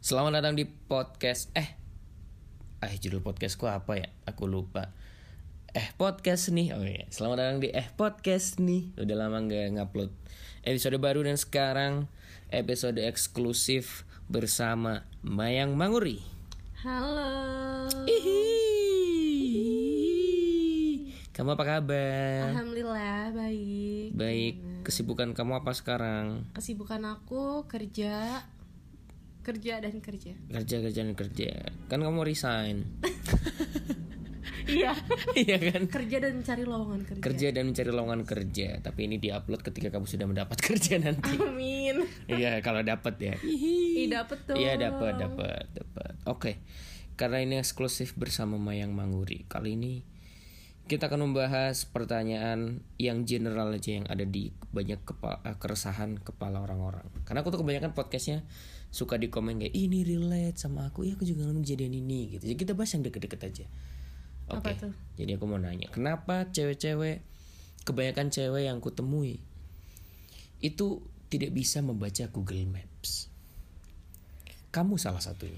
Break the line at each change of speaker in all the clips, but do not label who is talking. Selamat datang di podcast eh eh judul podcastku apa ya? Aku lupa. Eh podcast nih. Oh iya, selamat datang di eh podcast nih. Udah lama nggak ngupload episode baru dan sekarang episode eksklusif bersama Mayang Manguri.
Halo.
Iya. Ihi. Kamu apa kabar?
Alhamdulillah baik.
Baik, kesibukan kamu apa sekarang?
Kesibukan aku kerja, kerja dan kerja.
Kerja, kerja, dan kerja. Kan kamu resign.
Iya.
Iya kan?
kerja dan mencari lowongan kerja.
kerja dan mencari lowongan kerja tapi ini diupload ketika kamu sudah mendapat kerja nanti
Amin.
iya kalau dapat ya
Ih dapet tuh.
iya dapat dapat dapat oke karena ini eksklusif bersama Mayang Manguri kali ini kita akan membahas pertanyaan yang general aja yang ada di banyak kepa- eh, keresahan kepala orang-orang karena aku tuh kebanyakan podcastnya suka di komen kayak "Ih, ini relate sama aku iya aku juga ngalamin kejadian ini gitu jadi kita bahas yang deket-deket aja oke
Apa tuh?
jadi aku mau nanya kenapa cewek-cewek kebanyakan cewek yang kutemui itu tidak bisa membaca Google Maps kamu salah satunya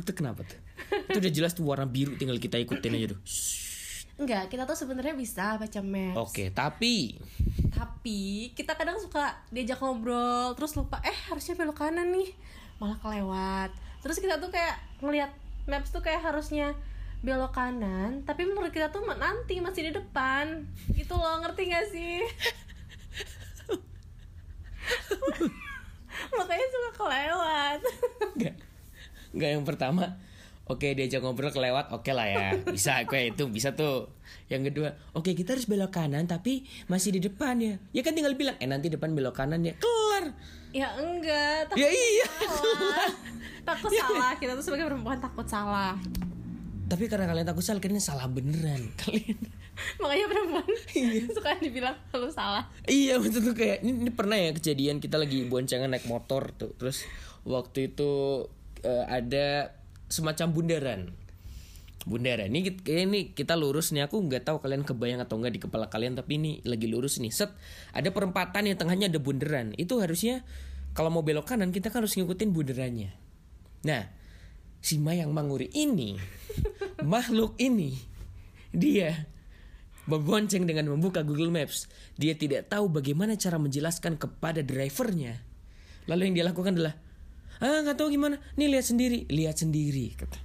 itu kenapa tuh itu udah jelas tuh warna biru tinggal kita ikutin aja tuh
Enggak, kita tuh sebenarnya bisa baca maps.
oke tapi
Tapi kita kadang suka diajak ngobrol, terus lupa eh harusnya belok kanan nih, malah kelewat. Terus kita tuh kayak ngelihat maps tuh kayak harusnya belok kanan, tapi menurut kita tuh nanti masih di depan. Gitu loh, ngerti gak sih? Makanya suka kelewat.
nggak nggak yang pertama oke diajak ngobrol kelewat oke lah ya bisa gue itu bisa tuh yang kedua oke kita harus belok kanan tapi masih di depan ya ya kan tinggal bilang eh nanti depan belok kanan ya kelar
ya enggak, takut
ya iya Ya.
salah. takut salah. Kita tuh sebagai perempuan takut salah.
tapi karena kalian takut salah kalian salah beneran kalian
Makanya perempuan suka dibilang kalau salah.
Iya betul tuh kayak ini, ini pernah ya kejadian kita lagi boncengan naik motor tuh terus waktu itu eh, ada semacam bundaran bundaran ini kit- kayak ini kita lurus nih aku nggak tahu kalian kebayang atau nggak di kepala kalian tapi ini lagi lurus nih set ada perempatan yang tengahnya ada bundaran itu harusnya kalau mau belok kanan kita kan harus ngikutin bundarannya nah si Mayang Manguri ini makhluk ini dia Membonceng dengan membuka Google Maps, dia tidak tahu bagaimana cara menjelaskan kepada drivernya. Lalu yang dia lakukan adalah, ah nggak tahu gimana, nih lihat sendiri, lihat sendiri kata.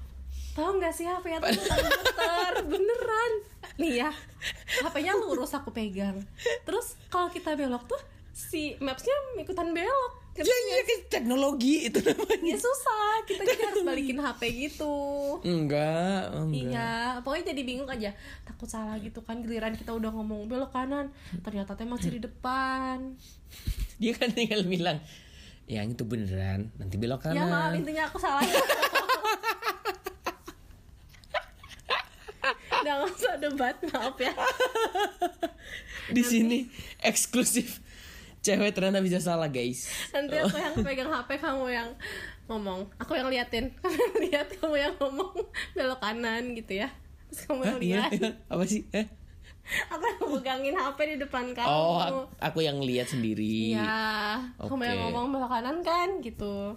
Tahu nggak sih HP-nya tuh tentang muter beneran. Nih ya, HP-nya lurus aku pegang. Terus kalau kita belok tuh si maps-nya ikutan belok.
Ya,
Iya,
ya, kan teknologi itu namanya.
Ya susah, kita jadi harus balikin HP gitu.
Enggak, enggak.
Iya, pokoknya jadi bingung aja. Takut salah gitu kan giliran kita udah ngomong belok kanan, ternyata teh masih di depan.
Dia kan tinggal bilang, yang itu beneran, nanti belok
Ya maaf
kanan.
intinya aku salah. Jangan usah debat, maaf ya.
Di sini eksklusif. Cewek ternyata bisa salah guys.
nanti aku yang pegang HP kamu yang ngomong aku yang liatin kamu yang lihat kamu yang ngomong belok kanan gitu ya terus kamu yang
Hah, iya?
lihat
gimana? Apa sih? Hah?
aku yang megangin HP di depan kamu
Oh, aku- aku yang lihat sendiri.
iya kamu yang
Oke.
ngomong belok kanan kan gitu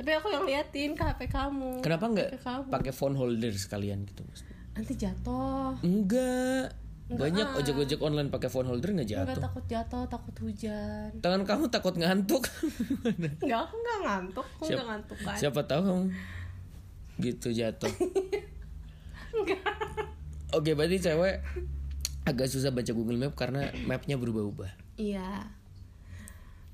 tapi aku yang liatin ke HP kamu
Kenapa nggak
Ke kamu.
pakai phone holder sekalian gitu mas?
nanti jatuh
Enggak. Banyak ojek-ojek online pakai phone holder nggak
nggak
jatuh.
takut jatuh takut hujan
Tangan kamu takut ngantuk.
nggak aku nggak ngantuk aku
Siap-
nggak ngantuk kan
Siapa tahu kamu gitu jatuh. Oke, berarti cewek agak susah baca Google Map karena mapnya berubah-ubah.
iya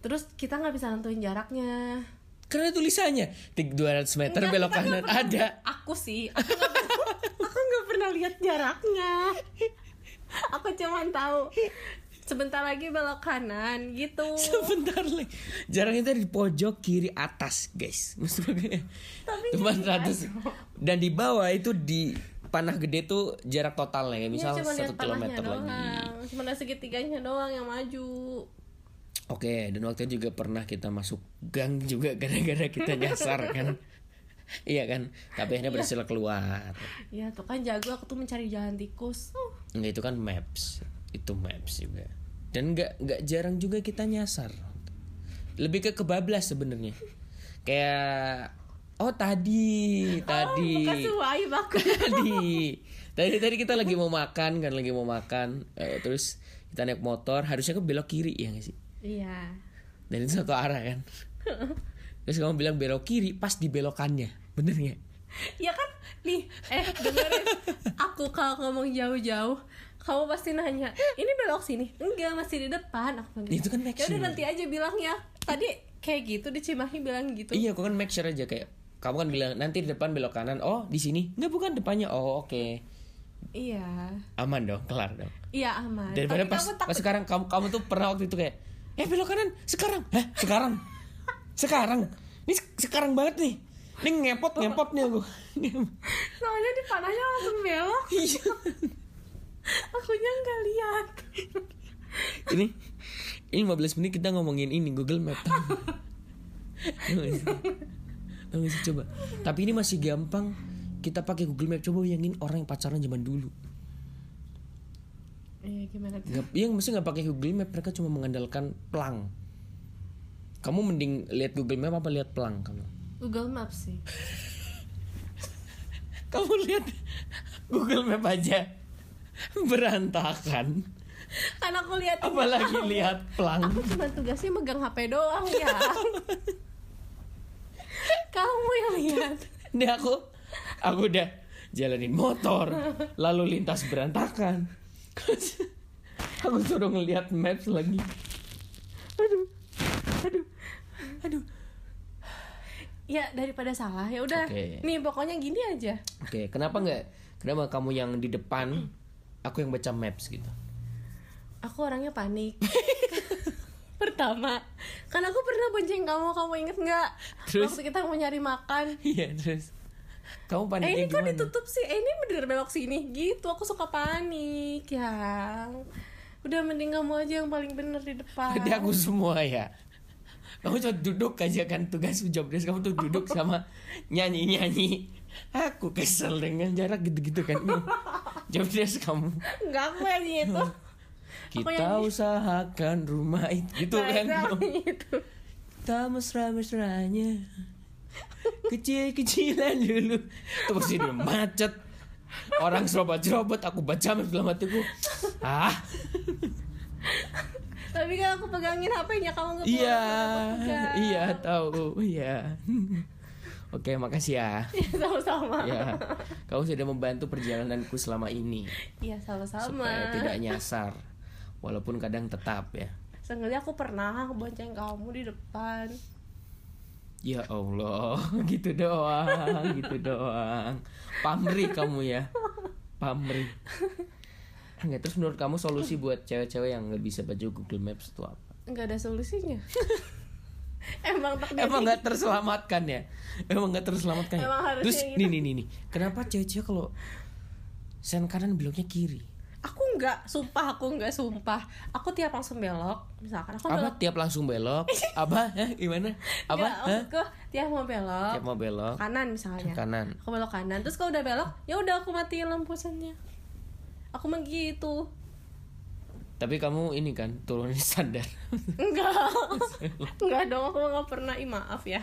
terus kita nggak bisa nentuin jaraknya
Karena tulisannya "Tik 200 meter
Enggak,
belok
kita
kanan ada.
aku sih aku nggak pernah- aku nggak pernah lihat jaraknya aku cuman tahu sebentar lagi belok kanan gitu
Sebentar lagi. Jaraknya tadi di pojok kiri atas, guys. Maksudnya cuma 100 dan di bawah itu di panah gede tuh jarak totalnya kayak misal
Ini Iya, cuma
satu
lihat panahnya
kilometer lagi.
doang cuma ada segitiganya doang yang maju
Oke, dan waktu itu juga pernah kita masuk gang juga gara-gara kita nyasar kan. iya kan? Tapi akhirnya berhasil keluar.
ya tuh kan jago aku tuh mencari jalan tikus Uh,
Enggak itu kan maps. Itu maps juga. Dan nggak nggak jarang juga kita nyasar. Lebih ke kebablas sebenarnya. kayak oh tadi tadi
Makasih wai baku.
tadi tadi tadi kita lagi mau makan kan lagi mau makan Eh, terus kita naik motor harusnya kan belok kiri ya nggak sih
Iya.
dan itu satu arah kan terus kamu bilang belok kiri pas di belokannya bener nggak
Ya kan? Nih, eh dengerin. Aku kalau ngomong jauh-jauh, kamu pasti nanya, "Ini belok sini?" Enggak, masih di depan. Aku bilang,
Itu kan make
"Ya udah
sure."
nanti aja bilangnya. Tadi kayak gitu di Cimahi bilang gitu.
iya aku kan make sure aja kayak kamu kan bilang nanti di depan belok kanan oh di sini nggak bukan depannya oh oke
Iya.
aman dong kelar dong
Iya, aman.
daripada
Tapi
pas,
kamu
pas
takut
sekarang kamu kamu tuh pernah waktu itu kayak eh belok kanan sekarang Hah? sekarang sekarang ini se- sekarang banget nih ini ngepot ngepot nih aku
soalnya di panahnya langsung belok. Akunya nggak lihat.
ini ini 15 menit kita ngomongin ini Google Map Tahu nggak sih? Tahu nggak sih? coba tapi ini masih gampang kita pakai Google Map coba bayangin orang yang pacaran zaman dulu
Iya, gimana tuh?
nggak yang mesti nggak pakai Google Map mereka cuma mengandalkan pelang kamu mending lihat Google Map apa lihat pelang kamu
Google Maps sih.
kamu lihat Google Map aja berantakan
Kan aku lihat
apalagi lihat pelang
Aku cuma tugasnya megang HP doang ya. Kamu yang lihat.
ini aku aku udah jalanin motor lalu lintas berantakan aku suruh ngelihat maps lagi aduh aduh aduh
Ya daripada salah ya udah.
Oke.
Nih pokoknya gini aja.
oke kenapa nggak kenapa kamu yang di depan aku yang baca maps gitu
Aku orangnya panik. Pertama, kan aku pernah bonceng kamu, kamu inget nggak?
Terus?
Waktu kita mau nyari makan.
iya terus kamu
Eh
paniknya
ini kok
Kan, gimana?
ditutup sih? Eh ini bener belok sini gitu. Aku suka panik ya. Udah mending kamu aja yang paling bener di depan.
Berarti aku semua ya Kamu cuma duduk aja kan tugas job desk Kamu tuh duduk
Oh.
sama nyanyi-nyanyi Aku kesel dengan jarak gitu-gitu kan Job desk kamu
Enggak aku yang itu.
Kita usahakan rumah itu Gitu
Nah,
kan
itu aku yang itu.
Kita mesra-mesranya Kecil-kecilan dulu Terus ini macet Orang serobot-serobot Aku baca maps dalam hatiku Ah
Tapi kan aku pegangin HP-nya kamu nggak
Iya,
pegang.
iya tahu, iya. Oke, makasih ya.
Iya, sama-sama.
Ya,
Iya,
kamu sudah membantu perjalananku selama ini
Iya, sama-sama.
supaya tidak nyasar, walaupun kadang tetap ya.
Seenggaknya aku pernah bonceng kamu di depan.
Ya Allah, gitu doang, gitu doang. Pamri kamu ya, pamri. Enggak terus menurut kamu solusi buat cewek-cewek yang nggak bisa baca Google Maps itu apa?
Nggak ada solusinya. Emang takdir.
emang nggak terselamatkan ya emang nggak terselamatkan ya?
Emang harusnya
terus
gitu.
nih nih nih nih kenapa cewek-cewek kalau sen kanan beloknya kiri
Aku nggak, sumpah aku nggak sumpah. Aku tiap langsung belok, misalkan aku
apa
belok.
tiap langsung belok apa Hah? gimana apa
Nggak,
Hah?
maksudku tiap mau belok
tiap mau belok
kanan misalnya.
kanan
Aku belok kanan, terus kalau udah belok, ya udah aku matiin lampu sennya. Aku mah gitu.
tapi kamu ini kan turunin standar
Enggak. Enggak dong, aku nggak pernah. Ih, maaf ya.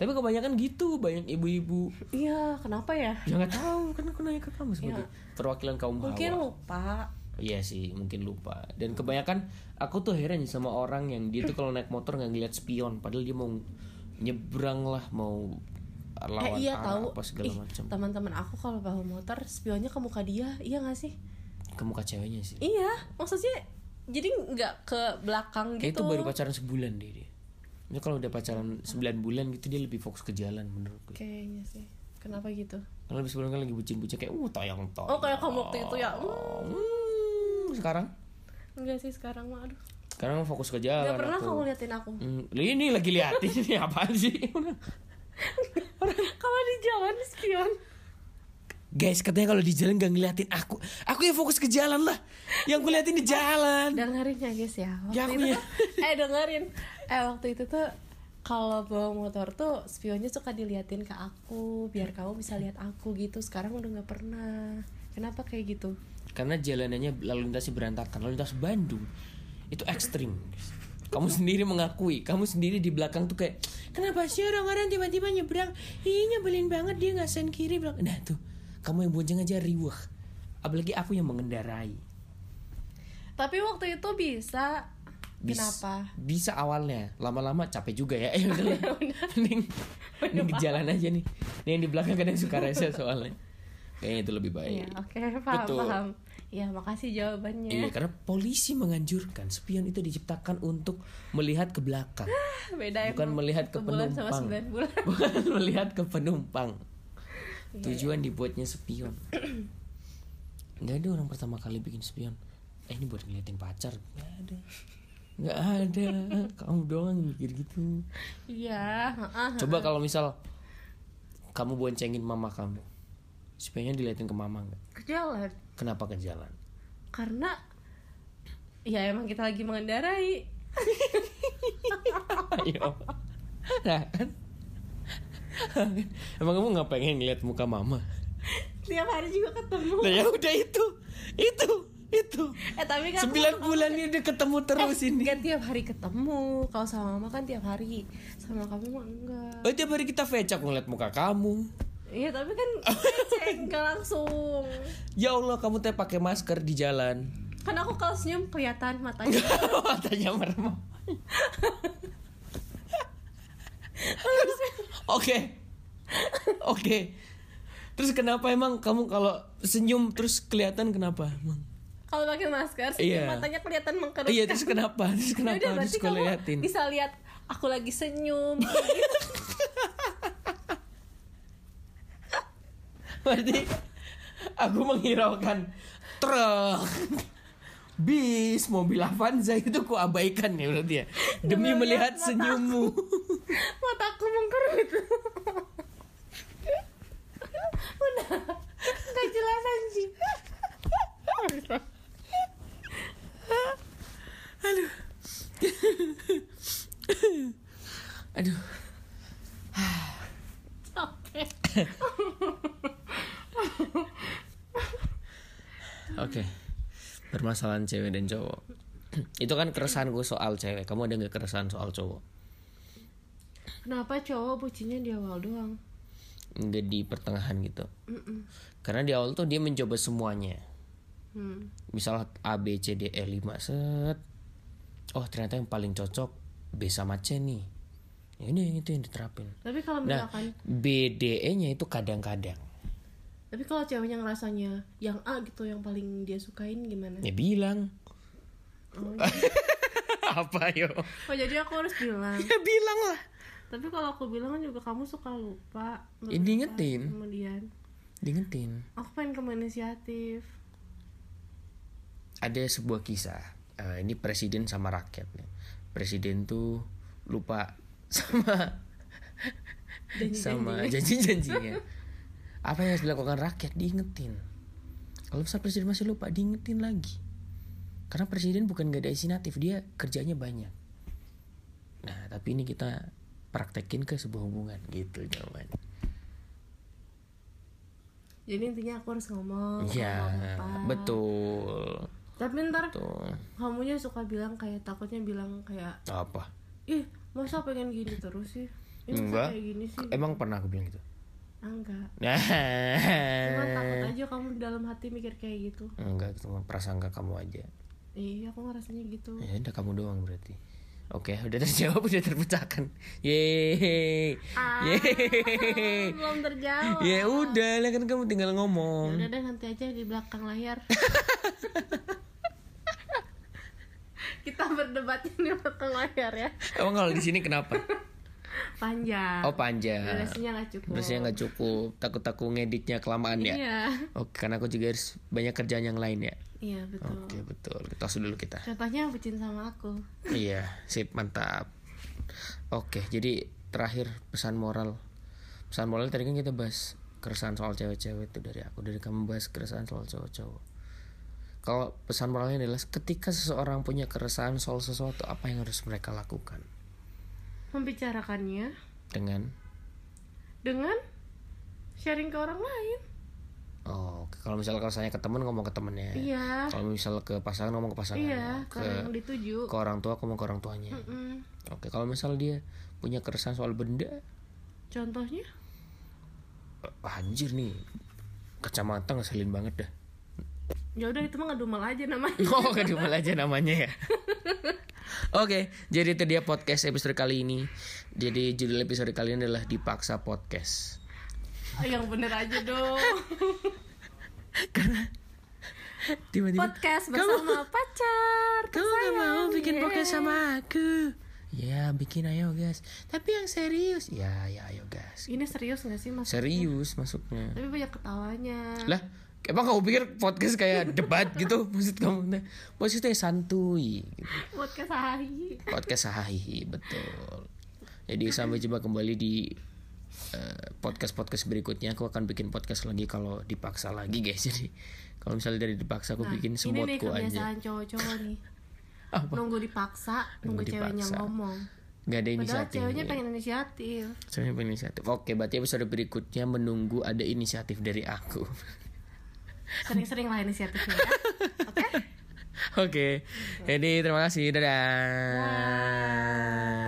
tapi kebanyakan gitu banyak ibu-ibu
Iya, kenapa ya?
ya nggak tahu kan aku nanya ke kamu sebagai perwakilan kaum
Mungkin
hawa
lupa.
iya sih mungkin lupa dan kebanyakan aku tuh heran ya sama orang yang dia tuh kalau naik motor nggak ngeliat spion padahal dia mau nyebrang lah mau lawan
eh iya
arah
tahu.
apa segala
Ih,
macam
Teman-teman aku kalau bawa motor spionnya ke muka dia, iya gak sih?
ke muka ceweknya sih
Iya, maksudnya jadi nggak ke belakang
kayak itu
gitu.
baru pacaran sebulan deh dia Maksudnya kalau udah pacaran 9 bulan gitu dia lebih fokus ke jalan menurutku
Kayaknya sih. Kenapa gitu?
Kalau lebih sebulan kan lagi bucin-bucin kayak uh tayang tayang
Oh, kayak kamu waktu itu ya. Hmm,
Hmm, sekarang
Enggak sih sekarang mah aduh.
sekarang fokus ke jalan
Nggak
Eh,
pernah
aku.
kamu liatin aku.
Hmm, ini lagi liatin ini apaan sih
kalau di jalan spion.
Guys katanya kalau di jalan gak ngeliatin aku Aku yang fokus ke jalan lah Yang gue liatin di jalan
dengerin ya guys ya waktu
Ya, aku
itu
ya.
tuh, eh dengerin eh waktu itu tuh kalau bawa motor tuh spionnya suka diliatin ke aku biar kamu bisa lihat aku gitu sekarang udah nggak pernah kenapa kayak gitu
Karena jalanannya lalu lintasnya berantakan Lalu lintas Bandung Itu ekstrim Kamu sendiri mengakui Kamu sendiri di belakang tuh kayak kenapa sih orang-orang tiba-tiba nyebrang ih nyebelin banget dia nggak sen kiri bilang nah tuh kamu yang bonceng aja riwah apalagi aku yang mengendarai
Tapi waktu itu bisa.
Bis-
Kenapa? Iya,
bisa awalnya lama-lama capek juga ya Eh, udah. mending mending di jalan aja nih nih yang di belakang kadang suka rese soalnya kayaknya itu lebih baik
Iya, oke, paham,
Oh, Betul.
paham. Ya, makasih
Iya,
jawabannya.
karena polisi menganjurkan spion itu diciptakan untuk melihat ke belakang,
Beda
bukan
emang.
melihat ke
Satu bulan sama
penumpang.
sembilan bulan.
Bukan melihat ke penumpang.
Iya,
Tujuan dibuatnya spion. Nggak ada orang pertama kali bikin spion. Eh ini buat ngeliatin pacar. Nggak ada. Nggak ada. Kamu doang yang mikir gitu.
Iya, heeh.
Coba kalau misal kamu boncengin mama kamu. Spionnya diliatin ke mama nggak?
Ke jalan.
Kenapa ke jalan?
Karena ya emang kita lagi mengendarai.
Ayo. Nah, kan? Emang kamu nggak pengen ngeliat muka mama?
Tiap hari juga ketemu.
Nah ya udah itu, itu, itu.
Eh, tapi kan
Sembilan bulan ini udah ketemu terus ini.
Kan tiap hari ketemu. Kalau sama mama kan tiap hari. Sama kamu mah enggak.
Oh tiap hari kita fecak ngeliat muka kamu.
Iya, tapi kan cek enggak langsung.
Ya Allah kamu teh pakai masker di jalan.
Kan aku kalau senyum kelihatan matanya.
Matanya merem. Terus, Oke, oke. Terus kenapa emang kamu kalau senyum terus kelihatan kenapa emang?
kalau pakai masker senyum
Iya.
matanya kelihatan mengkerut.
Iya terus kenapa? Terus kenapa
Yaudah,
harus
berarti
gue
kamu
liatin?
bisa lihat aku lagi senyum
Berarti aku menghiraukan truk, bis, mobil Avanza itu ku abaikan ya berarti ya. Demi
Demi
melihat
melihat mata
senyummu.
mataku mengkerut udah nggak jelas anjing
Aduh,
capek
oke. Permasalahan cewek dan cowok. itu kan keresahan gue soal cewek. Kamu ada nggak keresahan soal cowok?
kenapa cowok bucinnya di awal doang
Nggak di pertengahan gitu. Karena di awal tuh dia mencoba semuanya.
hmm.
Misal A B C D E 5 set. Oh ternyata yang paling cocok B sama C nih. Ya ini yang itu yang diterapin.
tapi kalau
Nah,
misalkan
BDE-nya itu kadang-kadang.
tapi kalau ceweknya ngerasanya yang A gitu yang paling dia sukain gimana
Ya bilang.
Oh.
Apa yo?
oh jadi aku harus bilang
Ya bilang lah.
tapi kalau aku bilang kan juga kamu suka lupa
Ya, diingetin.
kemudian
Diingetin.
aku pengen kamu inisiatif
Ada sebuah kisah. Eh, ini presiden sama rakyat nih. Presiden tuh lupa sama sama janji-janjinya. Apa yang harus dilakukan rakyat diingetin. Kalau misal presiden masih lupa diingetin lagi. Karena presiden bukan gak ada isinatif, dia kerjanya banyak. Nah, tapi ini kita praktekin ke sebuah hubungan gitu jawabannya.
jadi intinya aku harus ngomong
Iya,
aku ngomong apa.
betul.
tapi ntar
Tuh.
kamunya suka bilang kayak takutnya bilang kayak
Apa?
ih masa pengen gini terus sih ini
Enggak.
masa kayak gini sih
Emang pernah aku bilang gitu?
Ah, enggak
Nah.
cuma
Eh.
takut aja kamu di dalam hati mikir kayak gitu
Enggak, itu cuma prasangka kamu aja.
iya aku ngerasanya gitu
Ya udah kamu doang berarti. Oke, udah terjawab, udah terpecahkan. Yeay. Yeay.
belum terjawab
Ya udah, lah kan kamu tinggal
Ya
ngomong.
udah deh nanti aja di belakang layar kita berdebatnya di belakang layar ya
Emang kalau di sini kenapa?
panjang
Oh, panjang.
durasinya nggak cukup
Durasinya nggak cukup. Takut-takut ngeditnya kelamaan ya.
iya
Oke, karena aku juga harus banyak kerjaan yang lain ya.
iya betul
Oke, betul. Kita tos dulu kita.
contohnya bucin sama aku
Iya, sip mantap. Oke, jadi terakhir pesan moral. Pesan moral tadi kan kita bahas keresahan soal cewek-cewek itu dari aku, dari kamu bahas keresahan soal cowok-cowok. Kalau pesan moralnya adalah ketika seseorang punya keresahan soal sesuatu, apa yang harus mereka lakukan?
membicarakannya
Dengan
dengan sharing ke orang lain
Oh, oke. kalau misal kalau saya ke temen ngomong ke temennya.
Iya.
Kalau misal ke pasangan ngomong ke pasangannya.
Iya,
Ke,
karena yang dituju.
ke orang tua ngomong ke orang tuanya.
Mm,
Oke, kalau misal dia punya keresahan soal benda,
Contohnya?
eh, anjir nih. Kacamata ngeselin banget dah.
Ya udah itu mah ngedumel aja namanya.
Oh, kedumel aja namanya ya. Oke, jadi itu dia podcast episode kali ini. Jadi judul episode kali ini adalah dipaksa podcast.
yang bener aja dong.
Tiba-tiba
Podcast bersama pacar.
Kamu gak mau bikin
Yeay.
podcast sama aku? Ya bikin ayo guys Tapi yang serius Ya ya ayo guys
Iya. Ini serius gak sih mas?
Serius masuknya
Tapi banyak ketawanya.
Lah emang kamu pikir podcast kayak debat gitu Maksud kamu Maksudnya santuy gitu.
Podcast hari.
Podcast sahihi betul Jadi sampai jumpa kembali di eh, podcast-podcast berikutnya aku akan bikin podcast lagi kalau dipaksa lagi guys jadi kalau misalnya dari dipaksa aku bikin
Nah, Ini nih
semutku aja
kebiasaan cowok-cowok nih.
Apa?
Nunggu dipaksa, nunggu,
Nunggu
ceweknya
dipaksa.
ngomong.
nggak ada
Padahal
inisiatif iya.
ceweknya pengen inisiatif.
Saya punya inisiatif. Oke, berarti episode berikutnya menunggu ada inisiatif dari aku.
Sering-sering lah inisiatifnya ya. Oke?
Oke. Jadi terima kasih. Dadah.
Bye.